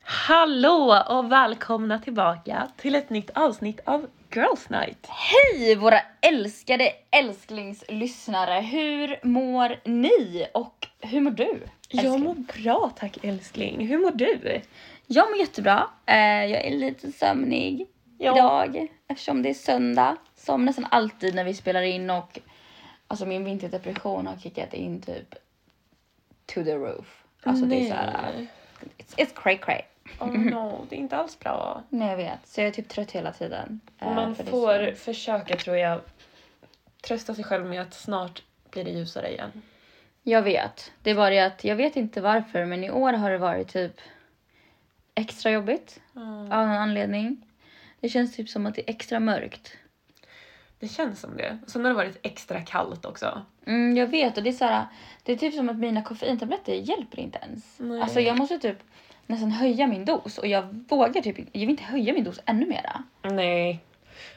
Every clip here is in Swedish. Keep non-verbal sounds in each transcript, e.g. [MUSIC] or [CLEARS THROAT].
Hallå och välkomna tillbaka till ett nytt avsnitt av Girls Night. Hej våra älskade älsklingslyssnare! Hur mår ni och hur mår du? Jag älskling? mår bra tack älskling. Hur mår du? jag mår jättebra. Eh, jag är lite sömnig Ja. idag eftersom det är söndag som nästan alltid när vi spelar in och alltså min vinterdepression har kickat in typ to the roof. Alltså det är Mm-hmm. såhär, it's, it's cray cray. Oh no, det är inte alls bra. Nej jag vet, så jag är typ trött hela tiden. eh, Man för det är får så- försöka tror jag trösta sig själv med att snart blir det ljusare igen. Jag vet. Det var det att jag vet inte varför men i år har det varit typ extra jobbigt av någon anledning. Det känns typ som att det är extra mörkt. Det känns som det. Och sen har det varit extra kallt också. Mm, jag vet och det är så här, det är typ som att mina koffeintabletter hjälper inte ens. Nej. Alltså jag måste typ nästan höja min dos och jag vågar typ jag vill inte höja min dos ännu mera. Nej.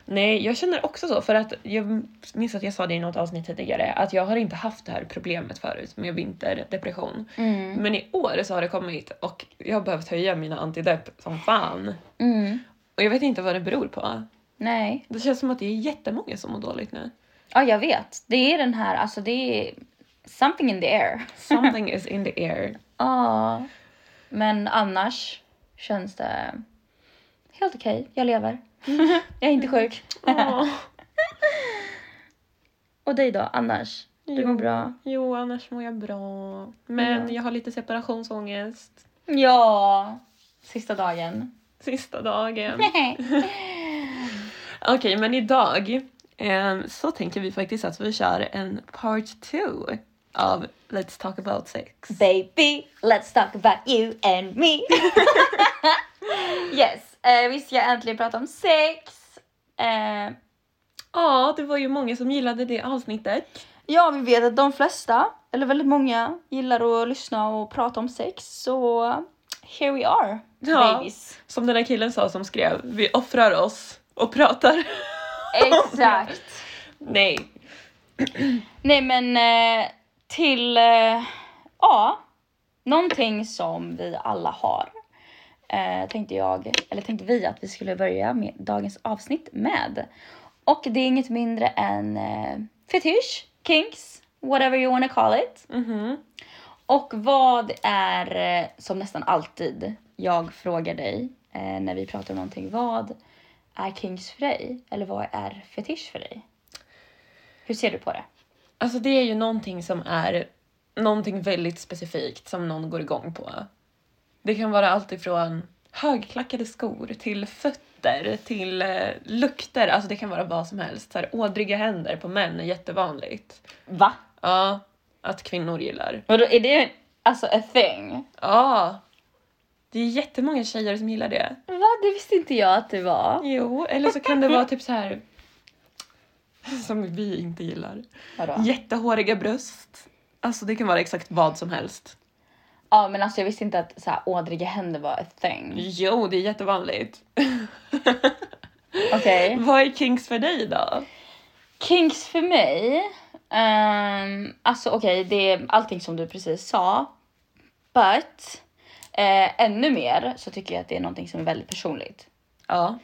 Nej, jag känner också så. För att jag minns att jag sa det i något avsnitt tidigare att jag har inte haft det här problemet förut med vinterdepression. Mm. Men i år så har det kommit och jag har behövt höja mina antidepp som fan. Mm. Och jag vet inte vad det beror på. Nej. Det känns som att det är jättemånga som mår dåligt nu. Ja jag vet. Det är den här, alltså det är something in the air. Something is in the [LAUGHS] air. Ja. Men annars känns det helt okej. Jag [LAUGHS] lever. jag är inte sjuk. Åh, Och dig då, annars? Du mår Jo. bra? jo, annars mår jag bra. Men Ja. jag har lite separationsångest. Ja. Sista [LAUGHS] dagen. Sista [LAUGHS] dagen. Okej, men idag ehm, så tänker vi faktiskt att vi kör en part two av Let's talk about sex. Baby, let's talk about you and me. [LAUGHS] yes, eh, vi ska äntligen prata om sex. Eh, Ja, det var ju många som gillade det avsnittet. ja, vi vet att de flesta, eller väldigt många, gillar att lyssna och prata om sex. Så here we are, Ja. babies. [LAUGHS] Som den där killen sa som skrev, vi offrar oss och pratar. [LAUGHS] Exakt. Nej. Nej men eh, till, eh, ja, någonting som vi alla har. Eh, tänkte jag, eller tänkte vi att vi skulle börja med dagens avsnitt med. Och det är inget mindre än eh, fetisch, kinks, whatever you wanna call it. Mhm. Och vad är, eh, som nästan alltid, jag frågar dig eh, när vi pratar om någonting. Vad är kinks för dig? Eller vad är fetisch för dig? Hur ser du på det? Alltså det är ju någonting som är någonting väldigt specifikt som någon går igång på. Det kan vara allt ifrån högklackade skor till fötter till eh, lukter. Alltså det kan vara vad som helst. Så här, ådriga händer på män är jättevanligt. Va? Ja, att kvinnor gillar. Vadå, är det alltså a thing? Ja, det är jättemånga tjejer som gillar det. Va? Det visste inte jag att det var. Jo, eller så kan det vara typ så här [LAUGHS] som vi inte gillar. Vadå? Jättehåriga bröst. Alltså det kan vara exakt vad som helst. Ja, men alltså jag visste inte att så här, ådriga händer var a thing. Jo, det är [LAUGHS] jättevanligt. Okej. Vad är kinks för dig då? Kinks för mig. ehm, alltså okej, det är allting som du precis sa. But eh, ännu mer så tycker jag att det är någonting som är väldigt personligt. Ja.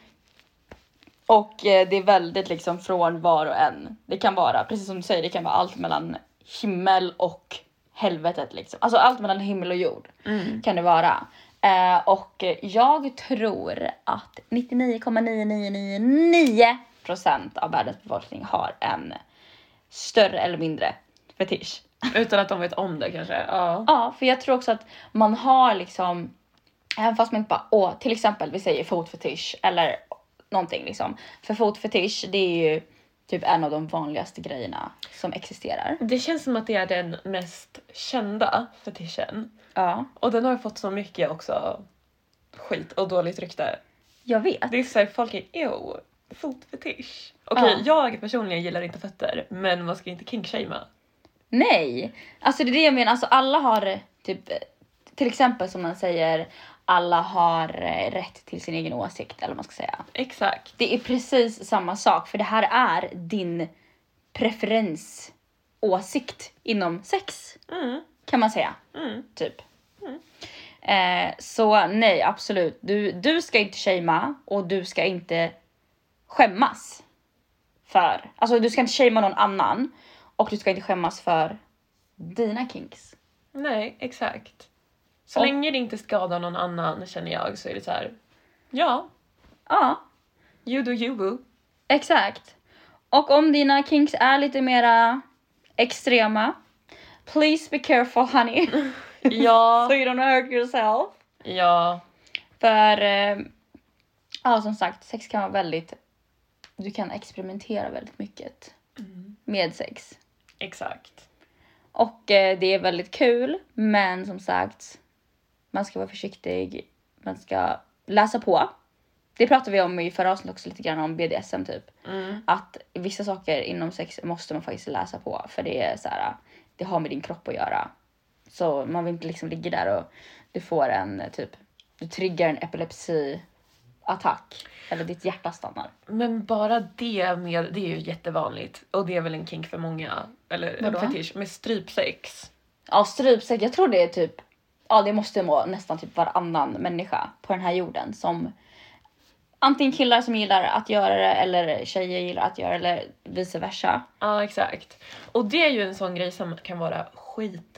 Och eh, det är väldigt liksom från var och en. Det kan vara, precis som du säger, det kan vara allt mellan himmel och helvetet. Liksom. Alltså allt mellan himmel och jord kan det vara. Eh, och jag tror att 99,9999% av världens befolkning har en större eller mindre fetisch. Utan att de vet om det kanske. Ja. Ja, för jag tror också att man har liksom, även fast man inte bara, åh, till exempel vi säger fotfetisch eller någonting liksom. För fotfetisch, det är ju typ en av de vanligaste grejerna som existerar. Det känns som att det är den mest kända fetischen. Ja, Och den har ju fått så mycket också skit och dåligt rykte. jag vet. Det är såhär, folk är ew, fotfetisch. Okej, Ja. jag personligen gillar inte fötter, men man ska inte kinkshamea. Nej, alltså det är det jag menar. Alltså alla har typ, till exempel som man säger, alla har eh, rätt till sin egen åsikt eller vad man ska säga. Exakt. Det är precis samma sak för det här är din preferensåsikt inom sex. Mm, kan man säga. mm. Typ. Eh, så nej, absolut. Du, du ska inte shamea och du ska inte skämmas för, alltså du ska inte shamea någon annan och du ska inte skämmas för dina kinks. Nej, exakt. Så Och- länge det inte skadar någon annan känner jag så är det så här. Ja, Ja, you do you boo. exakt. Och om dina kinks är lite mera extrema, please be careful [LAUGHS] honey. Ja, so you don't hurt yourself. ja, För eh, ja, som sagt, sex kan vara väldigt... Du kan experimentera väldigt mycket med sex. exakt. Och eh, det är väldigt kul, men som sagt, man ska vara försiktig. Man ska läsa på. Det pratade vi om i förra avsnittet också lite grann om BDSM typ. Mm. Att vissa saker inom sex måste man faktiskt läsa på för det är så här, det har med din kropp att göra. Så man vill inte liksom ligga där och du får en eh, typ, du triggar en epilepsiattack. Eller ditt hjärta stannar. Men bara det med, det är ju jättevanligt och det är väl en kink för många, eller en Vadå? fetisch, med strypsex. Ja, strypsäck. Jag tror det är typ... Ja, det måste vara nästan typ varannan människa på den här jorden som... Antingen killar som gillar att göra det eller tjejer gillar att göra det eller vice versa. Ja, exakt. Och det är ju en sån grej som kan vara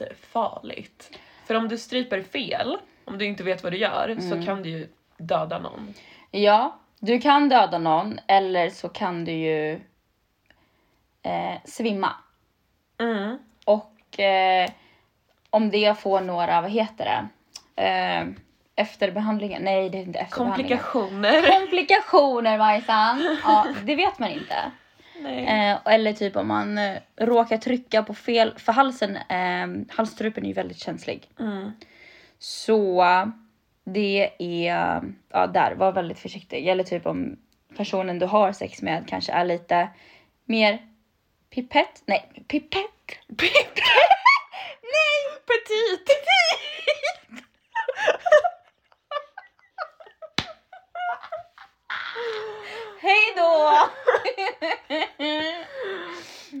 skitfarligt. För om du stryper fel, om du inte vet vad du gör, Mm. så kan du ju döda någon. Ja, du kan döda någon eller så kan du ju eh, svimma. Mm. Och eh, om det får några, vad heter det? Eh, efterbehandlingar? Nej, det är inte efterbehandlingar. [LAUGHS] Komplikationer. Komplikationer, Majsan! Ja, det vet man inte. Nej. Eh, eller typ om man eh, råkar trycka på fel, för halsen, eh, halsstrupen är ju väldigt känslig. Mm. Så det är, ja där, var väldigt försiktig. Eller typ om personen du har sex med kanske är lite mer pipett, nej pipett, nej petit, petit! Hej då!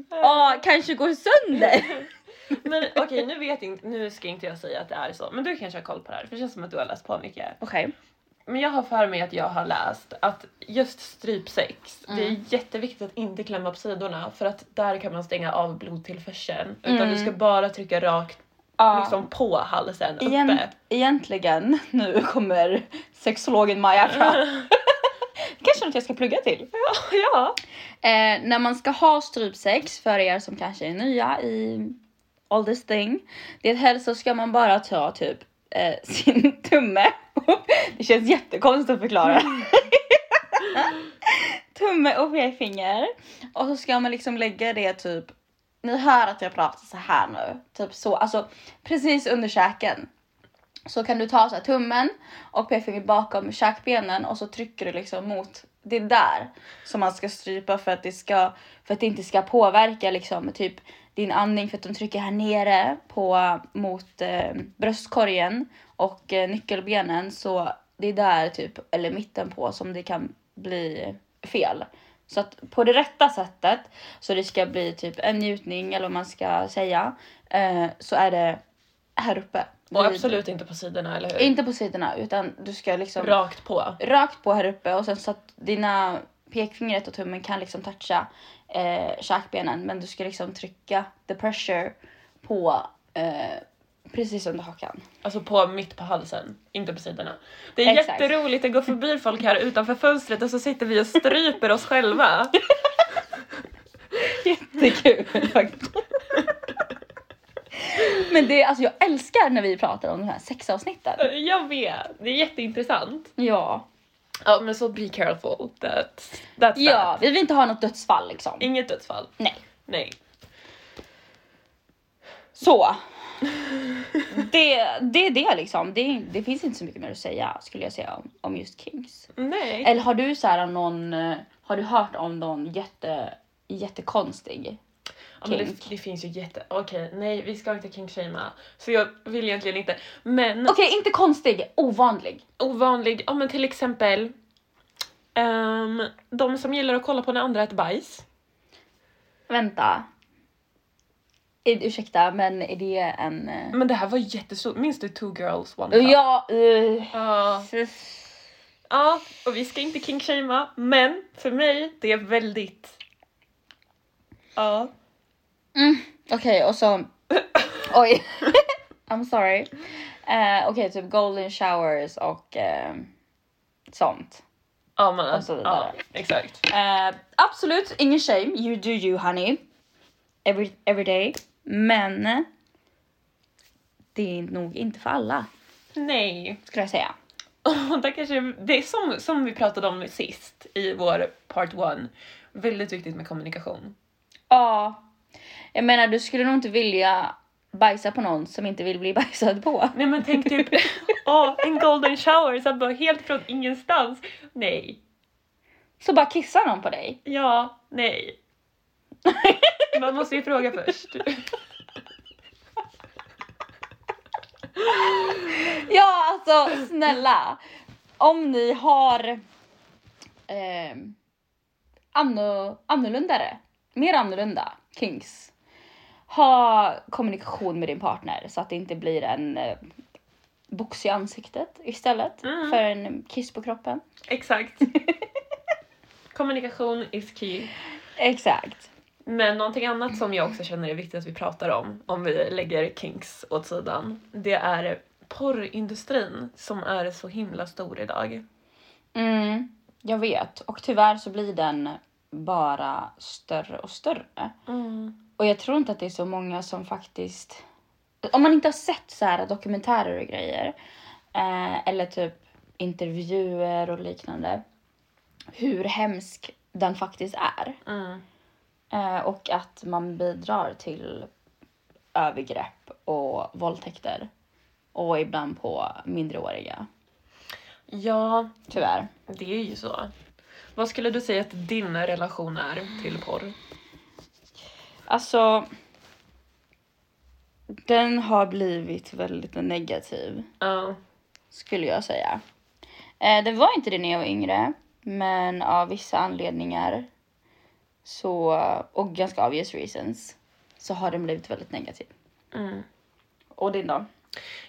Ja, kanske går sönder. Men okej, nu vet inte, nu ska inte jag säga att det är så, men du kanske har koll på det här, för det känns som att du har läst på mycket. Okej. Men jag har för mig att jag har läst att just strypsex, det är jätteviktigt att inte klämma på sidorna för att där kan man stänga av blodtillförseln. Utan du ska bara trycka rakt Ja. liksom på halsen Egent, uppe. egentligen, nu kommer sexologen Maja [LAUGHS] fram. kanske något jag ska plugga till. [LAUGHS] ja. Eh, när man ska ha strypsex, för er som kanske är nya i all this thing. Det helst så ska man bara ta typ eh, [LAUGHS] sin tumme. det känns jättekonstigt att förklara. [LAUGHS] tumme och pekfinger. Och så ska man liksom lägga det typ, ni hör att jag pratar så här nu. Typ så, alltså precis under käken. Så kan du ta så här tummen och pekfingret bakom käkbenen och så trycker du liksom mot det där som man ska strypa för att det, ska, för att det inte ska påverka liksom, typ din andning för att de trycker här nere på, mot eh, bröstkorgen och eh, nyckelbenen så det är där typ, eller mitten på som det kan bli fel. Så att på det rätta sättet så det ska bli typ en njutning eller vad man ska säga eh, så är det här uppe. Och Vid- absolut inte på sidorna, eller hur? inte på sidorna utan du ska liksom Rakt på. rakt på här uppe och sen så att dina pekfingret och tummen kan liksom toucha eh, käkbenen men du ska liksom trycka the pressure på eh, precis under hakan. Alltså på mitt på halsen, inte på sidorna. Det är Exakt. jätteroligt, det går förbi folk här utanför fönstret och så sitter vi och stryper oss [LAUGHS] själva. [LAUGHS] Jättekul faktiskt. men det, alltså jag älskar när vi pratar om de här sexavsnitten. Jag vet, det är jätteintressant. Ja. Ja men så be careful, that's, that's Ja, that. vi vill inte ha något dödsfall liksom. Inget dödsfall. Nej. Nej. Så. Det, det är det liksom. Det, det finns inte så mycket mer att säga skulle jag säga om, om just Kings. Nej. Eller har du så här någon, eh, har du hört om någon jätte, jättekonstig? Ja, men det, kink. det finns ju jätte... Okej, nej vi ska inte kinkshamea. Så jag vill egentligen inte. Men Okej, inte konstig, ovanlig. ovanlig, ja men till exempel ehm, de som gillar att kolla på när andra äter bajs. Vänta. Är, ursäkta, men är det en... eh, Men det här var jättestort. Minns du Two Girls One Cup? Ja, eh, Ja. Ja, och vi ska inte kinkshamea, men för mig det är väldigt... Ja. Mm, Okej, och så... Oj. [LAUGHS] I'm sorry. Eh, Okej, typ golden showers och eh, sånt. Ja, men Och så alltså, vidare. ja, exakt. Eh, absolut, ingen shame. You do you honey. Every, every day. Men det är nog inte för alla, Nej. skulle jag säga. [LAUGHS] Och där kanske, det är som, som vi pratade om sist i vår part one. Väldigt viktigt med kommunikation. Ja. Jag menar, du skulle nog inte vilja bajsa på någon som inte vill bli [LAUGHS] bajsad på. Nej men tänk [LAUGHS] typ, åh, en golden shower så här bara helt från ingenstans. Nej. Så bara kissar någon på dig. [LAUGHS] Ja, nej. Man måste ju fråga först. Ja, alltså snälla. Om ni har eh, anno, annorlundare, mer annorlunda kinks. Ha kommunikation med din partner så att det inte blir en eh, box i ansiktet istället Mm. för en kiss på kroppen. Exakt. Kommunikation is key. Exakt. Men någonting annat som jag också känner är viktigt att vi pratar om, om vi lägger kinks åt sidan, det är porrindustrin som är så himla stor idag. Mm, jag vet och tyvärr så blir den bara större och större. Och jag tror inte att det är så många som faktiskt... Om man inte har sett så här dokumentärer och grejer eh, eller typ intervjuer och liknande hur hemsk den faktiskt är Mm. eh, och att man bidrar till övergrepp och våldtäkter och ibland på minderåriga, Ja, tyvärr. det är ju så. Vad skulle du säga att din relation är till porr? Alltså, den har blivit väldigt negativ. Ja. skulle jag säga. Eh, det var inte det när jag var yngre, men av vissa anledningar så, och ganska obvious reasons så har den blivit väldigt negativ. Mm. Och din då?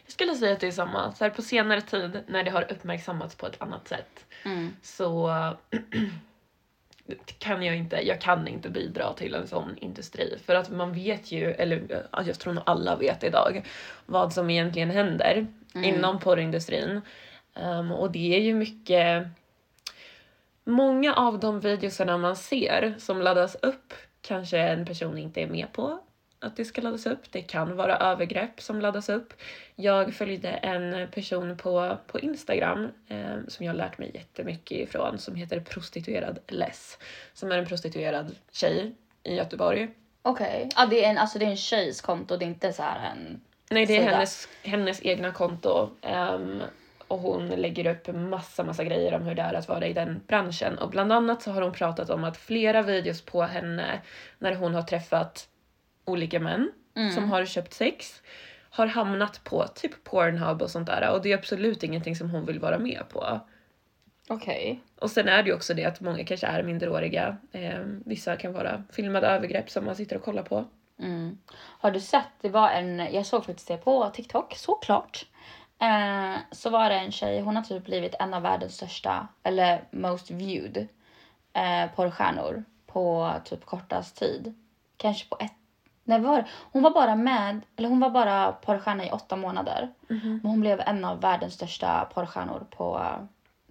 Jag skulle säga att det är samma. Så här, på senare tid, när det har uppmärksammats på ett annat sätt, Mm. så [CLEARS THROAT] kan jag inte, jag kan inte bidra till en sån industri. För att man vet ju, eller ja, jag tror nog alla vet idag, vad som egentligen händer inom porrindustrin. Ehm, och det är ju mycket, många av de videoserna man ser som laddas upp kanske en person inte är med på att det ska laddas upp. Det kan vara övergrepp som laddas upp. Jag följde en person på, på Instagram eh, som jag har lärt mig jättemycket ifrån som heter Prostituerad Less. Som är en prostituerad tjej i Göteborg. Okej. Ja, det är en, alltså det är en tjejs konto, det är inte så här en... Nej, det är sida. hennes, hennes egna konto. ehm, och hon lägger upp massa, massa grejer om hur det är att vara i den branschen. Och bland annat så har hon pratat om att flera videos på henne när hon har träffat olika män Mm. som har köpt sex har hamnat på typ Pornhub och sånt där. Och det är absolut ingenting som hon vill vara med på. Okej. Och sen är det ju också det att många kanske är minderåriga. Ehm, vissa kan vara filmade övergrepp som man sitter och kollar på. Mm. Har du sett, det var en, jag såg faktiskt det på TikTok, såklart. Eh, så var det en tjej, hon har typ blivit en av världens största, eller most viewed, eh, porrstjärnor på typ kortast tid. Kanske på ett, nej vad var det? Hon var bara med, eller hon var bara porrstjärna i åtta månader. Men hon blev en av världens största porrstjärnor på,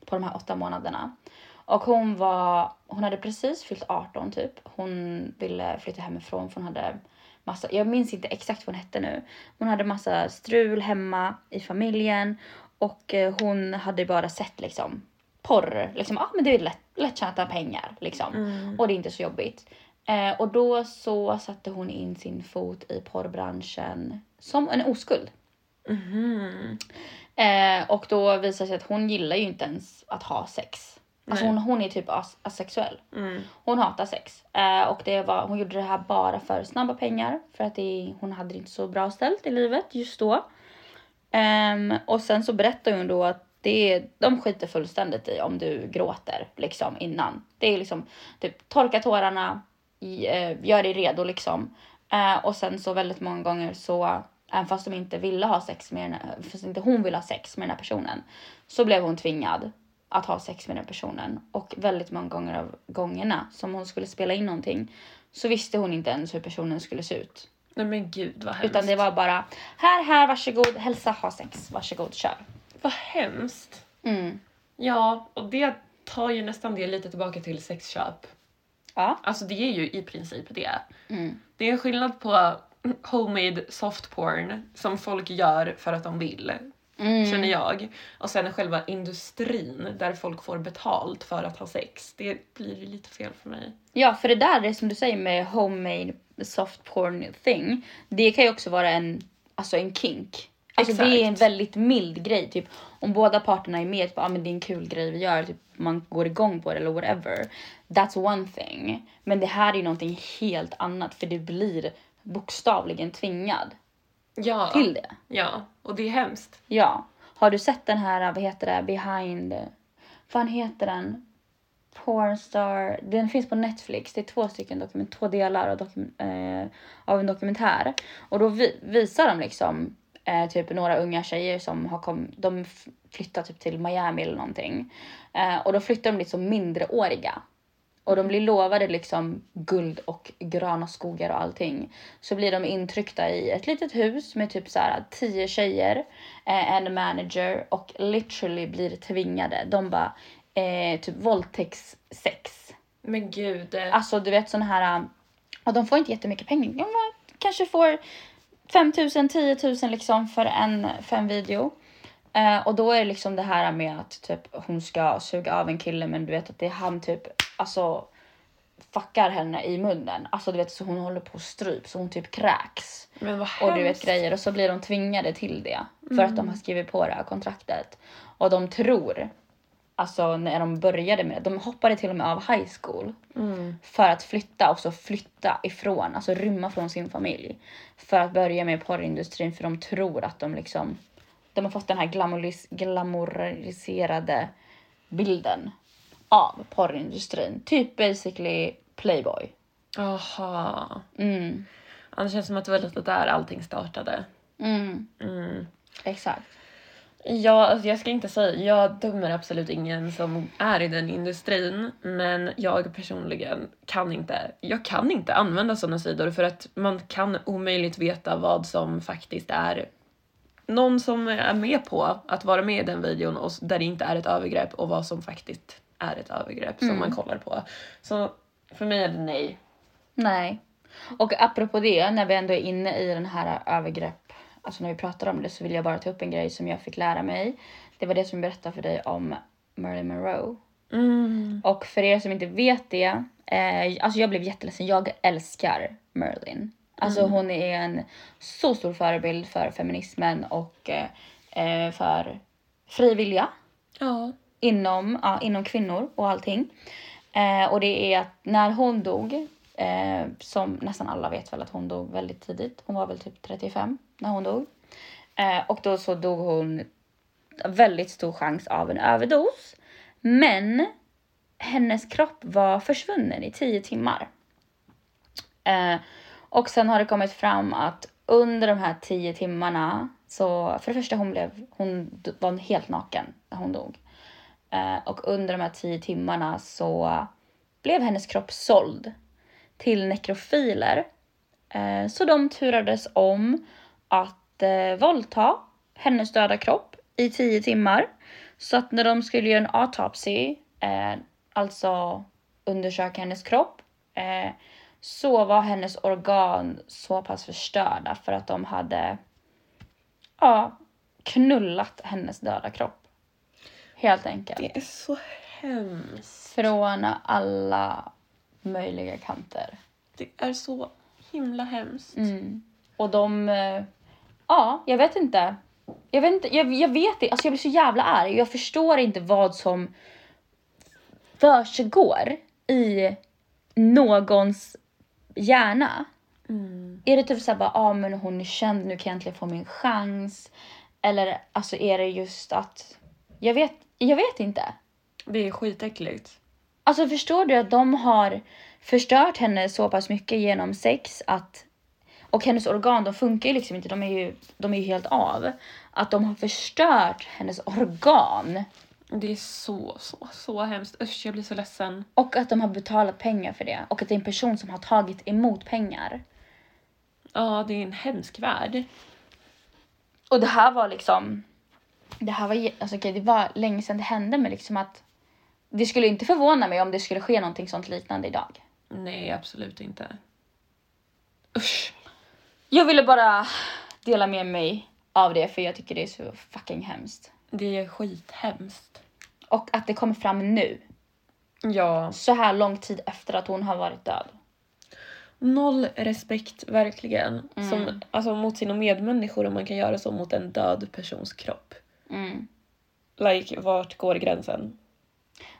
på de här åtta månaderna. Och hon var, hon hade precis fyllt 18 typ. Hon ville flytta hemifrån för hon hade massa, jag minns inte exakt vad hon hette nu. Hon hade massa strul hemma i familjen och eh, hon hade bara sett liksom porr, liksom, ah, men det är lätt, lätt tjäna pengar liksom. Och det är inte så jobbigt. Eh, och då så satte hon in sin fot i porrbranschen som en oskuld. Mhm. Eh, och då visar det sig att hon gillar ju inte ens att ha sex. Alltså Nej. hon, hon är typ as- asexuell. Mm. Hon hatar sex. Eh, och det var, hon gjorde det här bara för snabba pengar. För att det, hon hade det inte så bra ställt i livet just då. Ehm, och sen så berättar hon då att det är, de skiter fullständigt i om du gråter liksom innan. Det är liksom typ torka tårarna, i- eh, gör dig redo liksom. Eh, Eh, och sen så väldigt många gånger så, även fast de inte ville ha sex med den, fast inte hon ville ha sex med den här personen, så blev hon tvingad att ha sex med den här personen. Och väldigt många gånger av gångerna som hon skulle spela in någonting så visste hon inte ens hur personen skulle se ut. Nej men gud vad hemskt. Utan det var bara här, här, varsågod, hälsa, ha sex, varsågod, kör. Vad hemskt. Mm. Ja, och det tar ju nästan det lite tillbaka till sexköp. Ja. Alltså det är ju i princip det. Mm. Det är en skillnad på homemade soft porn som folk gör för att de vill, Mm. känner jag. Och sen själva industrin där folk får betalt för att ha sex. Det blir ju lite fel för mig. Ja, för det där är som du säger med homemade soft porn thing. Det kan ju också vara en, alltså en kink. Alltså det är en Exakt. väldigt mild grej. Typ om båda parterna är med, typ, ah, men det är en kul grej vi gör, typ, man går igång på det eller whatever. That's one thing. Men det här är ju någonting helt annat för du blir bokstavligen tvingad Ja. till det. Ja, och det är hemskt. Ja. Har du sett den här, vad heter det, behind... Vad fan heter den? Pornstar. Den finns på Netflix. Det är två stycken dokument, två delar av, dokum, eh, av en dokumentär. Och då vi, visar de liksom eh, typ några unga tjejer som har kom, de f- flyttar typ till Miami eller någonting. Eh, och då flyttar de dit som mindreåriga. Och de blir lovade liksom guld och gröna skogar och allting. Så blir de intryckta i ett litet hus med typ så här tio tjejer, eh, en manager och literally blir tvingade. De bara eh, typ våldtäktssex. Men gud. Alltså du vet sån här, um, och de får inte jättemycket pengar. De bara, kanske får 5 000, 10 000 liksom för en, för en video. Eh, och då är det liksom det här med att typ hon ska suga av en kille men du vet att det är han typ, alltså fuckar henne i munnen. Alltså du vet så hon håller på och stryp så hon typ kräks. Men vad Och hemskt. du vet grejer och så blir de tvingade till det för att de har skrivit på det här kontraktet. Och de tror, alltså när de började med det, de hoppade till och med av high school Mm. för att flytta och så flytta ifrån, alltså rymma från sin familj. För att börja med porrindustrin för de tror att de liksom, de har fått den här glamouris- glamoriserade bilden av porrindustrin. Typ basically Playboy. Aha. Mm. Ja, Det känns som att det var lite där allting startade. Mm. Mm. Exakt. Ja, alltså jag ska inte säga, jag dömer absolut ingen som är i den industrin, men jag personligen kan inte, jag kan inte använda sådana sidor för att man kan omöjligt veta vad som faktiskt är någon som är med på att vara med i den videon och s- där det inte är ett övergrepp och vad som faktiskt är ett övergrepp som man kollar på. Så för mig är det nej. Nej. Och apropå det, när vi ändå är inne i den här övergrepp, alltså när vi pratar om det så vill jag bara ta upp en grej som jag fick lära mig. Det var det som jag berättade för dig om Marilyn Monroe. Mm. Och för er som inte vet det, eh, alltså jag blev jätteledsen. Jag älskar Merlin. Alltså hon är en så stor förebild för feminismen och eh, eh, för fri vilja Ja. inom, ja, inom kvinnor och allting. Eh, och det är att när hon dog, eh, som nästan alla vet väl att hon dog väldigt tidigt. Hon var väl typ 35 när hon dog. Eh, och då så dog hon väldigt stor chans av en överdos. Men hennes kropp var försvunnen i 10 timmar. Eh, och sen har det kommit fram att under de här 10 timmarna så för det första hon blev, hon d- var helt naken när hon dog. Eh, och under de här 10 timmarna så blev hennes kropp såld till nekrofiler. Eh, så de turades om att eh, våldta hennes döda kropp i 10 timmar. Så att när de skulle göra en autopsy, eh, alltså undersöka hennes kropp, eh, så var hennes organ så pass förstörda för att de hade ja, knullat hennes döda kropp. Helt enkelt Det är så hemskt. från alla möjliga kanter. Det är så himla hemskt. Mm. Och de... eh, Ja, jag vet inte. Jag vet inte, jag, jag vet det. Alltså jag blir så jävla arg. Jag förstår inte vad som försiggår i någons hjärna. Mm. Är det typ såhär bara, ah, men hon är känd, nu kan jag äntligen få min chans. Eller alltså är det just att, jag vet, jag vet inte. Det är skitäckligt. Alltså förstår du att de har förstört henne så pass mycket genom sex att Och hennes organ de funkar ju liksom inte, de är ju, de är ju helt av. Att de har förstört hennes organ Det är så, så, så hemskt. Usch, jag blir så ledsen. och att de har betalat pengar för det och att det är en person som har tagit emot pengar. Ja, det är en hemsk värld. Och det här var liksom... Det här var, ge- alltså, okej, det var länge sedan det hände, men liksom att... Det skulle inte förvåna mig om det skulle ske någonting sånt liknande idag. Nej, absolut inte. Usch. Jag ville bara dela med mig av det, för jag tycker det är så fucking hemskt. Det är skithemskt. Och att det kommer fram nu, Ja. så här lång tid efter att hon har varit död. Noll respekt verkligen. Som, alltså mot sina medmänniskor om man kan göra så mot en död persons kropp. Mm. Like, vart går gränsen?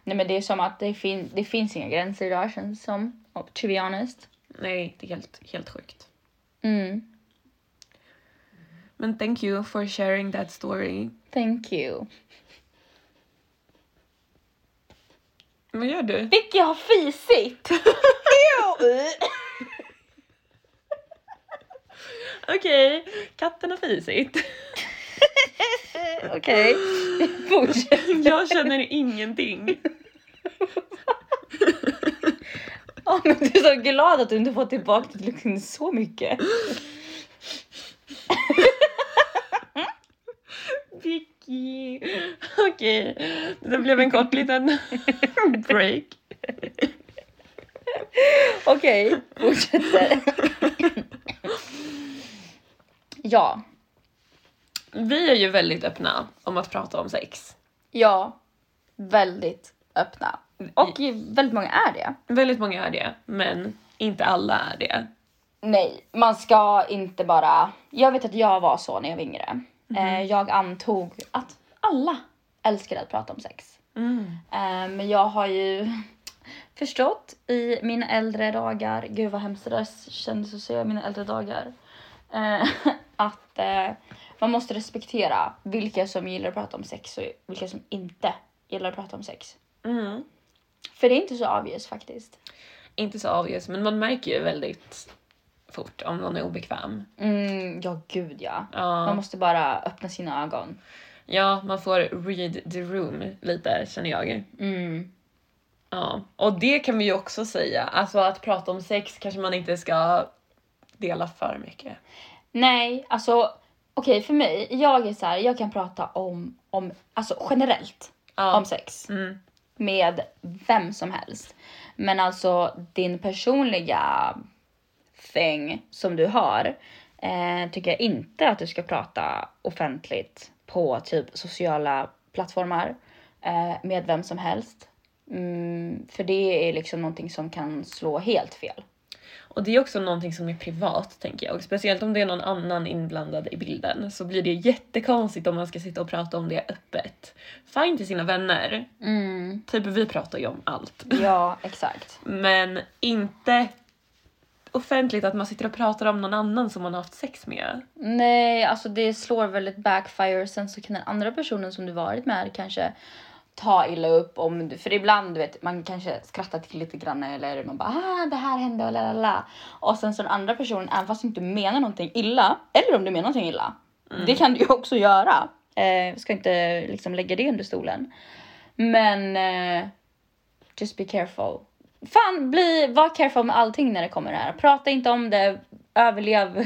Nej, men det är som att det, fin- det finns inga gränser idag, känns det som. Oh, To be honest. Nej, det är helt, helt sjukt. Mm. Men thank you for sharing that story. Thank you. Vad gör [LAUGHS] du? Vicky har fisit! Ew! Okej, katten har fisit. [LAUGHS] Okej, fortsätt. Jag känner ingenting. Ja, men du är så glad att du inte fått tillbaka ditt lugn så mycket. Vicky. Okej, det blev en kort liten break. Okej, fortsätter. ja, Vi är ju väldigt öppna om att prata om sex. ja, väldigt öppna. Och väldigt många är det. Väldigt många är det, men inte alla är det. Nej, man ska inte bara... Jag vet att jag var så när jag var yngre. Eh, Jag antog att alla älskade att prata om sex. Eh, Men jag har ju [LAUGHS] förstått i mina äldre dagar, gud vad hemskt det där kändes att säga i mina äldre dagar, eh, [LAUGHS] att eh, man måste respektera vilka som gillar att prata om sex och vilka som inte gillar att prata om sex. Mm. För det är inte så obvious faktiskt. Inte så obvious, men man märker ju väldigt fort om någon är obekväm. Mm, ja, gud ja. Ja. Man måste bara öppna sina ögon. Ja, man får read the room lite känner jag. Mm. Ja. Och det kan vi ju också säga, alltså att prata om sex kanske man inte ska dela för mycket. Nej, alltså okej för mig, jag är så här, jag kan prata om, om alltså generellt Ja. om sex Mm. med vem som helst. Men alltså din personliga thing som du har eh, tycker jag inte att du ska prata offentligt på typ sociala plattformar eh, med vem som helst. Mm, för det är liksom någonting som kan slå helt fel. Och det är också någonting som är privat tänker jag. Och speciellt om det är någon annan inblandad i bilden så blir det jättekonstigt om man ska sitta och prata om det öppet. Fine till sina vänner. Typ vi pratar ju om allt. Ja, exakt. Men inte offentligt att man sitter och pratar om någon annan som man har haft sex med. Nej, alltså det slår väl ett backfire. Sen så kan den andra personen som du varit med kanske ta illa upp om du, för ibland du vet man kanske skrattar till lite grann eller man bara ah det här hände och la la la. Och sen så den andra personen, även fast du inte menar någonting illa, eller om du menar någonting illa, det kan du ju också göra. Eh, ska inte liksom lägga det under stolen. Men eh, just be careful. Fan, bli, var careful med allting när det kommer här. Prata inte om det, överlev,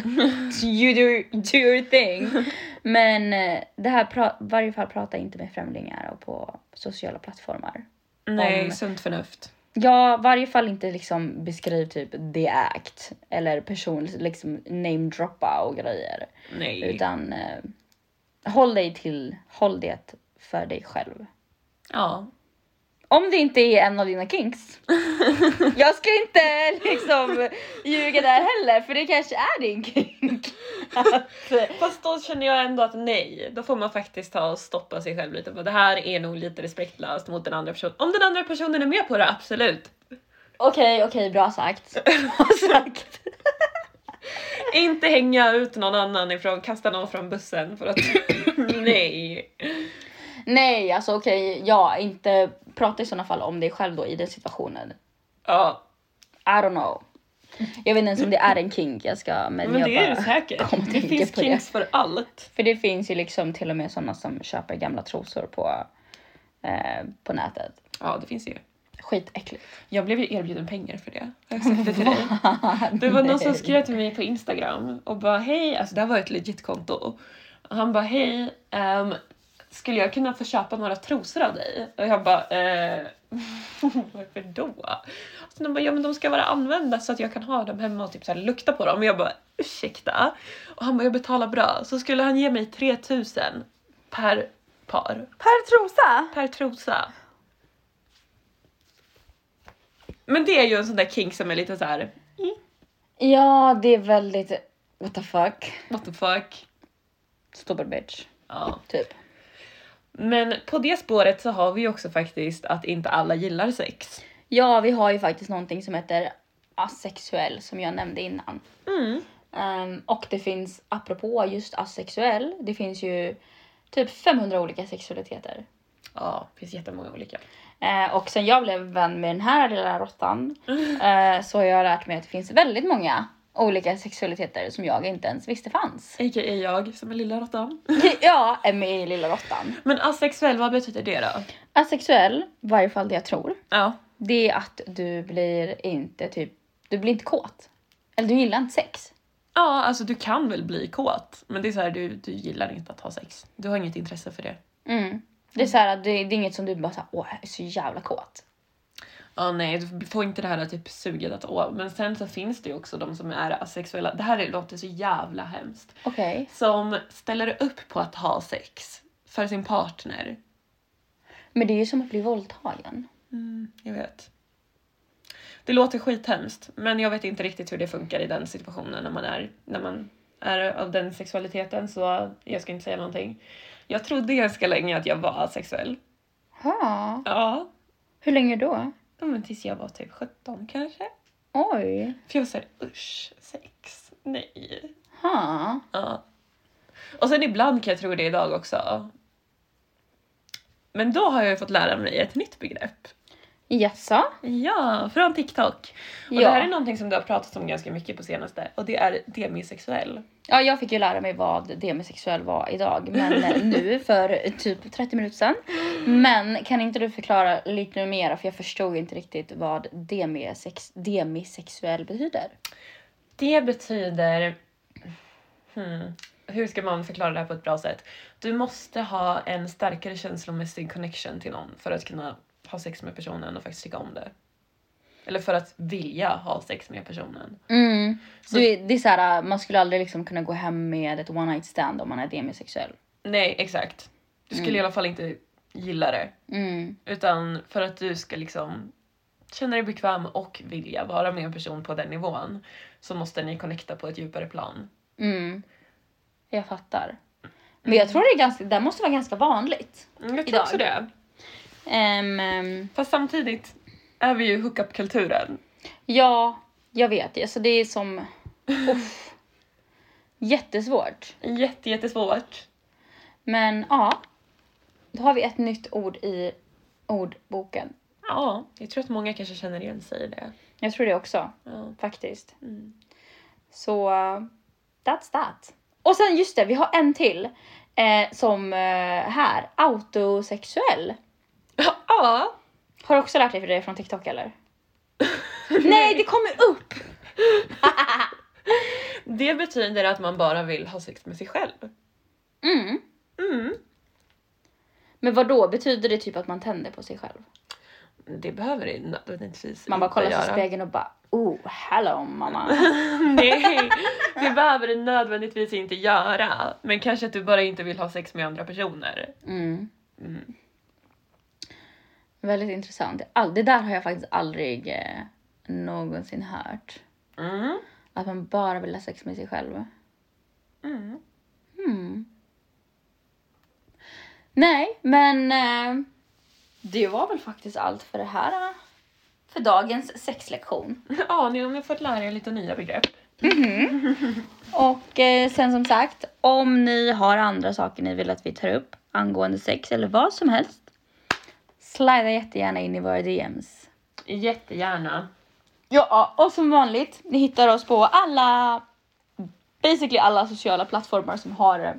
you do, do your thing. Men eh, det här, pra, varje fall prata inte med främlingar och på sociala plattformar. Nej, Om- sunt förnuft. Ja, varje fall inte liksom beskriv typ the act eller person, liksom namedroppa och grejer. Nej. Utan eh, håll dig till, håll det för dig själv. Ja. Om det inte är en av dina [LAUGHS] kinks. Jag ska inte liksom ljuga där heller för det kanske är [LAUGHS] din kink. Att, eh, Fast då känner jag ändå att nej, då får man faktiskt ta och stoppa sig själv lite för det här är nog lite respektlöst mot den andra personen. Om den andra personen är med på det, absolut. Okej, okej, bra sagt. Bra sagt. [LAUGHS] Inte hänga ut någon annan ifrån, kasta någon från bussen [CLEARS THROAT] för att nej. Nej, alltså okej, ja, inte prata i sådana fall om dig själv då i den situationen. Ja, I don't know. Jag vet inte ens om det är en kink jag ska... Men, Men jag det bara... är det kom och säkert. Det tänka finns på det. kinks för allt. För det finns ju liksom till och med sådana som köper gamla trosor på, eh, på nätet. Ja, det finns ju. Skitäckligt. Jag blev ju erbjuden pengar för det. Har jag sagt det till dig? Det var någon som skrev till mig på Instagram och bara hej, alltså det här var ett legit konto. Och han bara hej, ehm, skulle jag kunna få köpa några trosor av dig? Och jag bara eh, [LAUGHS] varför då? Så de bara ja men de ska vara använda så att jag kan ha dem hemma och typ så här lukta på dem. Och jag bara ursäkta? Och han bara jag betalar bra. Så skulle han ge mig 3000 per par, Per trosa? per trosa. Men det är ju en sån där kink som är lite så här Ja, det är väldigt... What the fuck? what the fuck. Stupid bitch. Ja. Typ. Men på det spåret så har vi ju också faktiskt att inte alla gillar sex. Ja, vi har ju faktiskt någonting som heter asexuell som jag nämnde innan. Mm. Ehm, och det finns, apropå just asexuell, det finns ju typ 500 olika sexualiteter. Ja, det finns jättemånga olika. Eh, och sen jag blev vän med den här lilla [LAUGHS] råttan eh, så har jag lärt mig att det finns väldigt många olika sexualiteter som jag inte ens visste fanns. [LAUGHS] A.k.a. jag som är lilla råttan. ja, är med i lilla råttan. Men asexuell, vad betyder det då? Asexuell, i varje fall det jag tror, Ja. det är att du blir inte typ, du blir inte kåt. Eller du gillar inte sex. Ja, alltså du kan väl bli kåt, men det är så här, du, du gillar inte att ha sex. Du har inget intresse för det. Mm. Det är så här, det, det är inget som du bara såhär, åh jag är så jävla kåt. Ja, nej, du får inte det här typ suget att åh. Men sen så finns det ju också de som är asexuella. Det här låter så jävla hemskt. Okej. Som ställer upp på att ha sex för sin partner. Men det är ju som att bli våldtagen. Mm, jag vet. Det låter skithemskt, men jag vet inte riktigt hur det funkar i den situationen när man är, när man är av den sexualiteten, så jag ska inte säga någonting. Jag trodde ganska länge att jag var asexuell. Ha. Ja, Hur länge då? ja, men tills jag var typ 17 kanske. Oj. För jag var såhär, usch, sex, nej. Ha. Ja. Och sen ibland kan jag tro det idag också. Men då har jag ju fått lära mig ett nytt begrepp. Jaså? Ja, från TikTok. Och Ja. det här är någonting som du har pratat om ganska mycket på senaste och det är demisexuell. Ja, jag fick ju lära mig vad demisexuell var idag, men [LAUGHS] eh, nu för typ 30 minuter sedan. Men kan inte du förklara lite mer, för jag förstod inte riktigt vad demisex- demisexuell betyder. Det betyder... Hmm, hur ska man förklara det här på ett bra sätt? Du måste ha en starkare känslomässig connection till någon för att kunna ha sex med personen och faktiskt tycka om det. Eller för att vilja ha sex med personen. Mm. Du, det är så här, man skulle aldrig liksom kunna gå hem med ett one night stand om man är demisexuell. Nej, exakt. Du skulle i alla fall inte gilla det. Mm. Utan för att du ska liksom känna dig bekväm och vilja vara med en person på den nivån så måste ni connecta på ett djupare plan. Mm. Jag fattar. Men jag tror det, är ganska, det här måste vara ganska vanligt. Mm, Jag tror Idag. också det. Ehm, ehm, Fast samtidigt är vi ju hookup-kulturen. ja, jag vet. Alltså det är som... Uff, jättesvårt. Jätte, jättesvårt. Men ja, då har vi ett nytt ord i ordboken. Ja, jag tror att många kanske känner igen sig i det. Jag tror det också, Ja. faktiskt. Mm. Så eh, that's that. Och sen just det, vi har en till eh, som eh, här, autosexuell. [LAUGHS] ja. Har du också lärt dig för det från [LAUGHS] TikTok eller? Nej, det kommer upp! Det betyder att man bara vill ha sex med sig själv. Mm. Mm. Men vad då betyder det typ att man tänder på sig själv? Det behöver det nödvändigtvis Man bara inte kollar göra. sig i spegeln och bara oh, hello mamma. [LAUGHS] Nej, det behöver det nödvändigtvis inte göra. Men kanske att du bara inte vill ha sex med andra personer. Mm. Mm. Väldigt intressant. All, det där har jag faktiskt aldrig eh, någonsin hört. Mm. [LAUGHS] Att man bara vill ha sex med sig själv. Mm. Hmm. Nej, men eh, det var väl faktiskt allt för det här. eh, För dagens sexlektion. Ja, ni har nu fått lära er lite nya begrepp. Och eh, sen som sagt, om ni har andra saker ni vill att vi tar upp angående sex eller vad som helst. Slida jättegärna in i våra DMs. Jättegärna. Ja, och som vanligt, ni hittar oss på alla, basically alla sociala plattformar som har eh,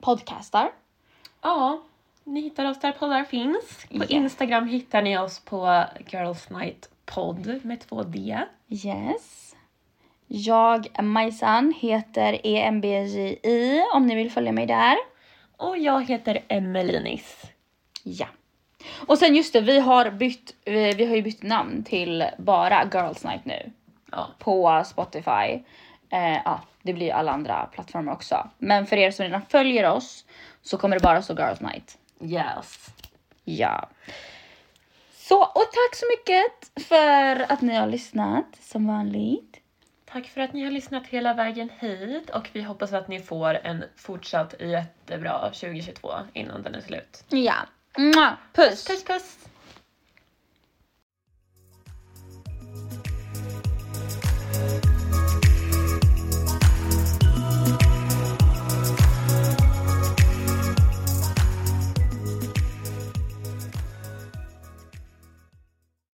podcastar. Ja, ni hittar oss där poddar finns. På Ja. Instagram hittar ni oss på Girls Night Podd med två D. Yes. Jag, Majsan, heter E EMBJI om ni vill följa mig där. Och jag heter Emelinis. Ja. Och sen just det, vi har, bytt, vi, vi har ju bytt namn till bara Girls Night nu. Ja. På Spotify. Eh, ja, det blir ju alla andra plattformar också. Men för er som redan följer oss så kommer det bara stå Girls Night. Yes. Ja. Så, och tack så mycket för att ni har lyssnat som vanligt. Tack för att ni har lyssnat hela vägen hit och vi hoppas att ni får en fortsatt jättebra 2022 innan den är slut. Ja. Mua, Puss! Puss puss!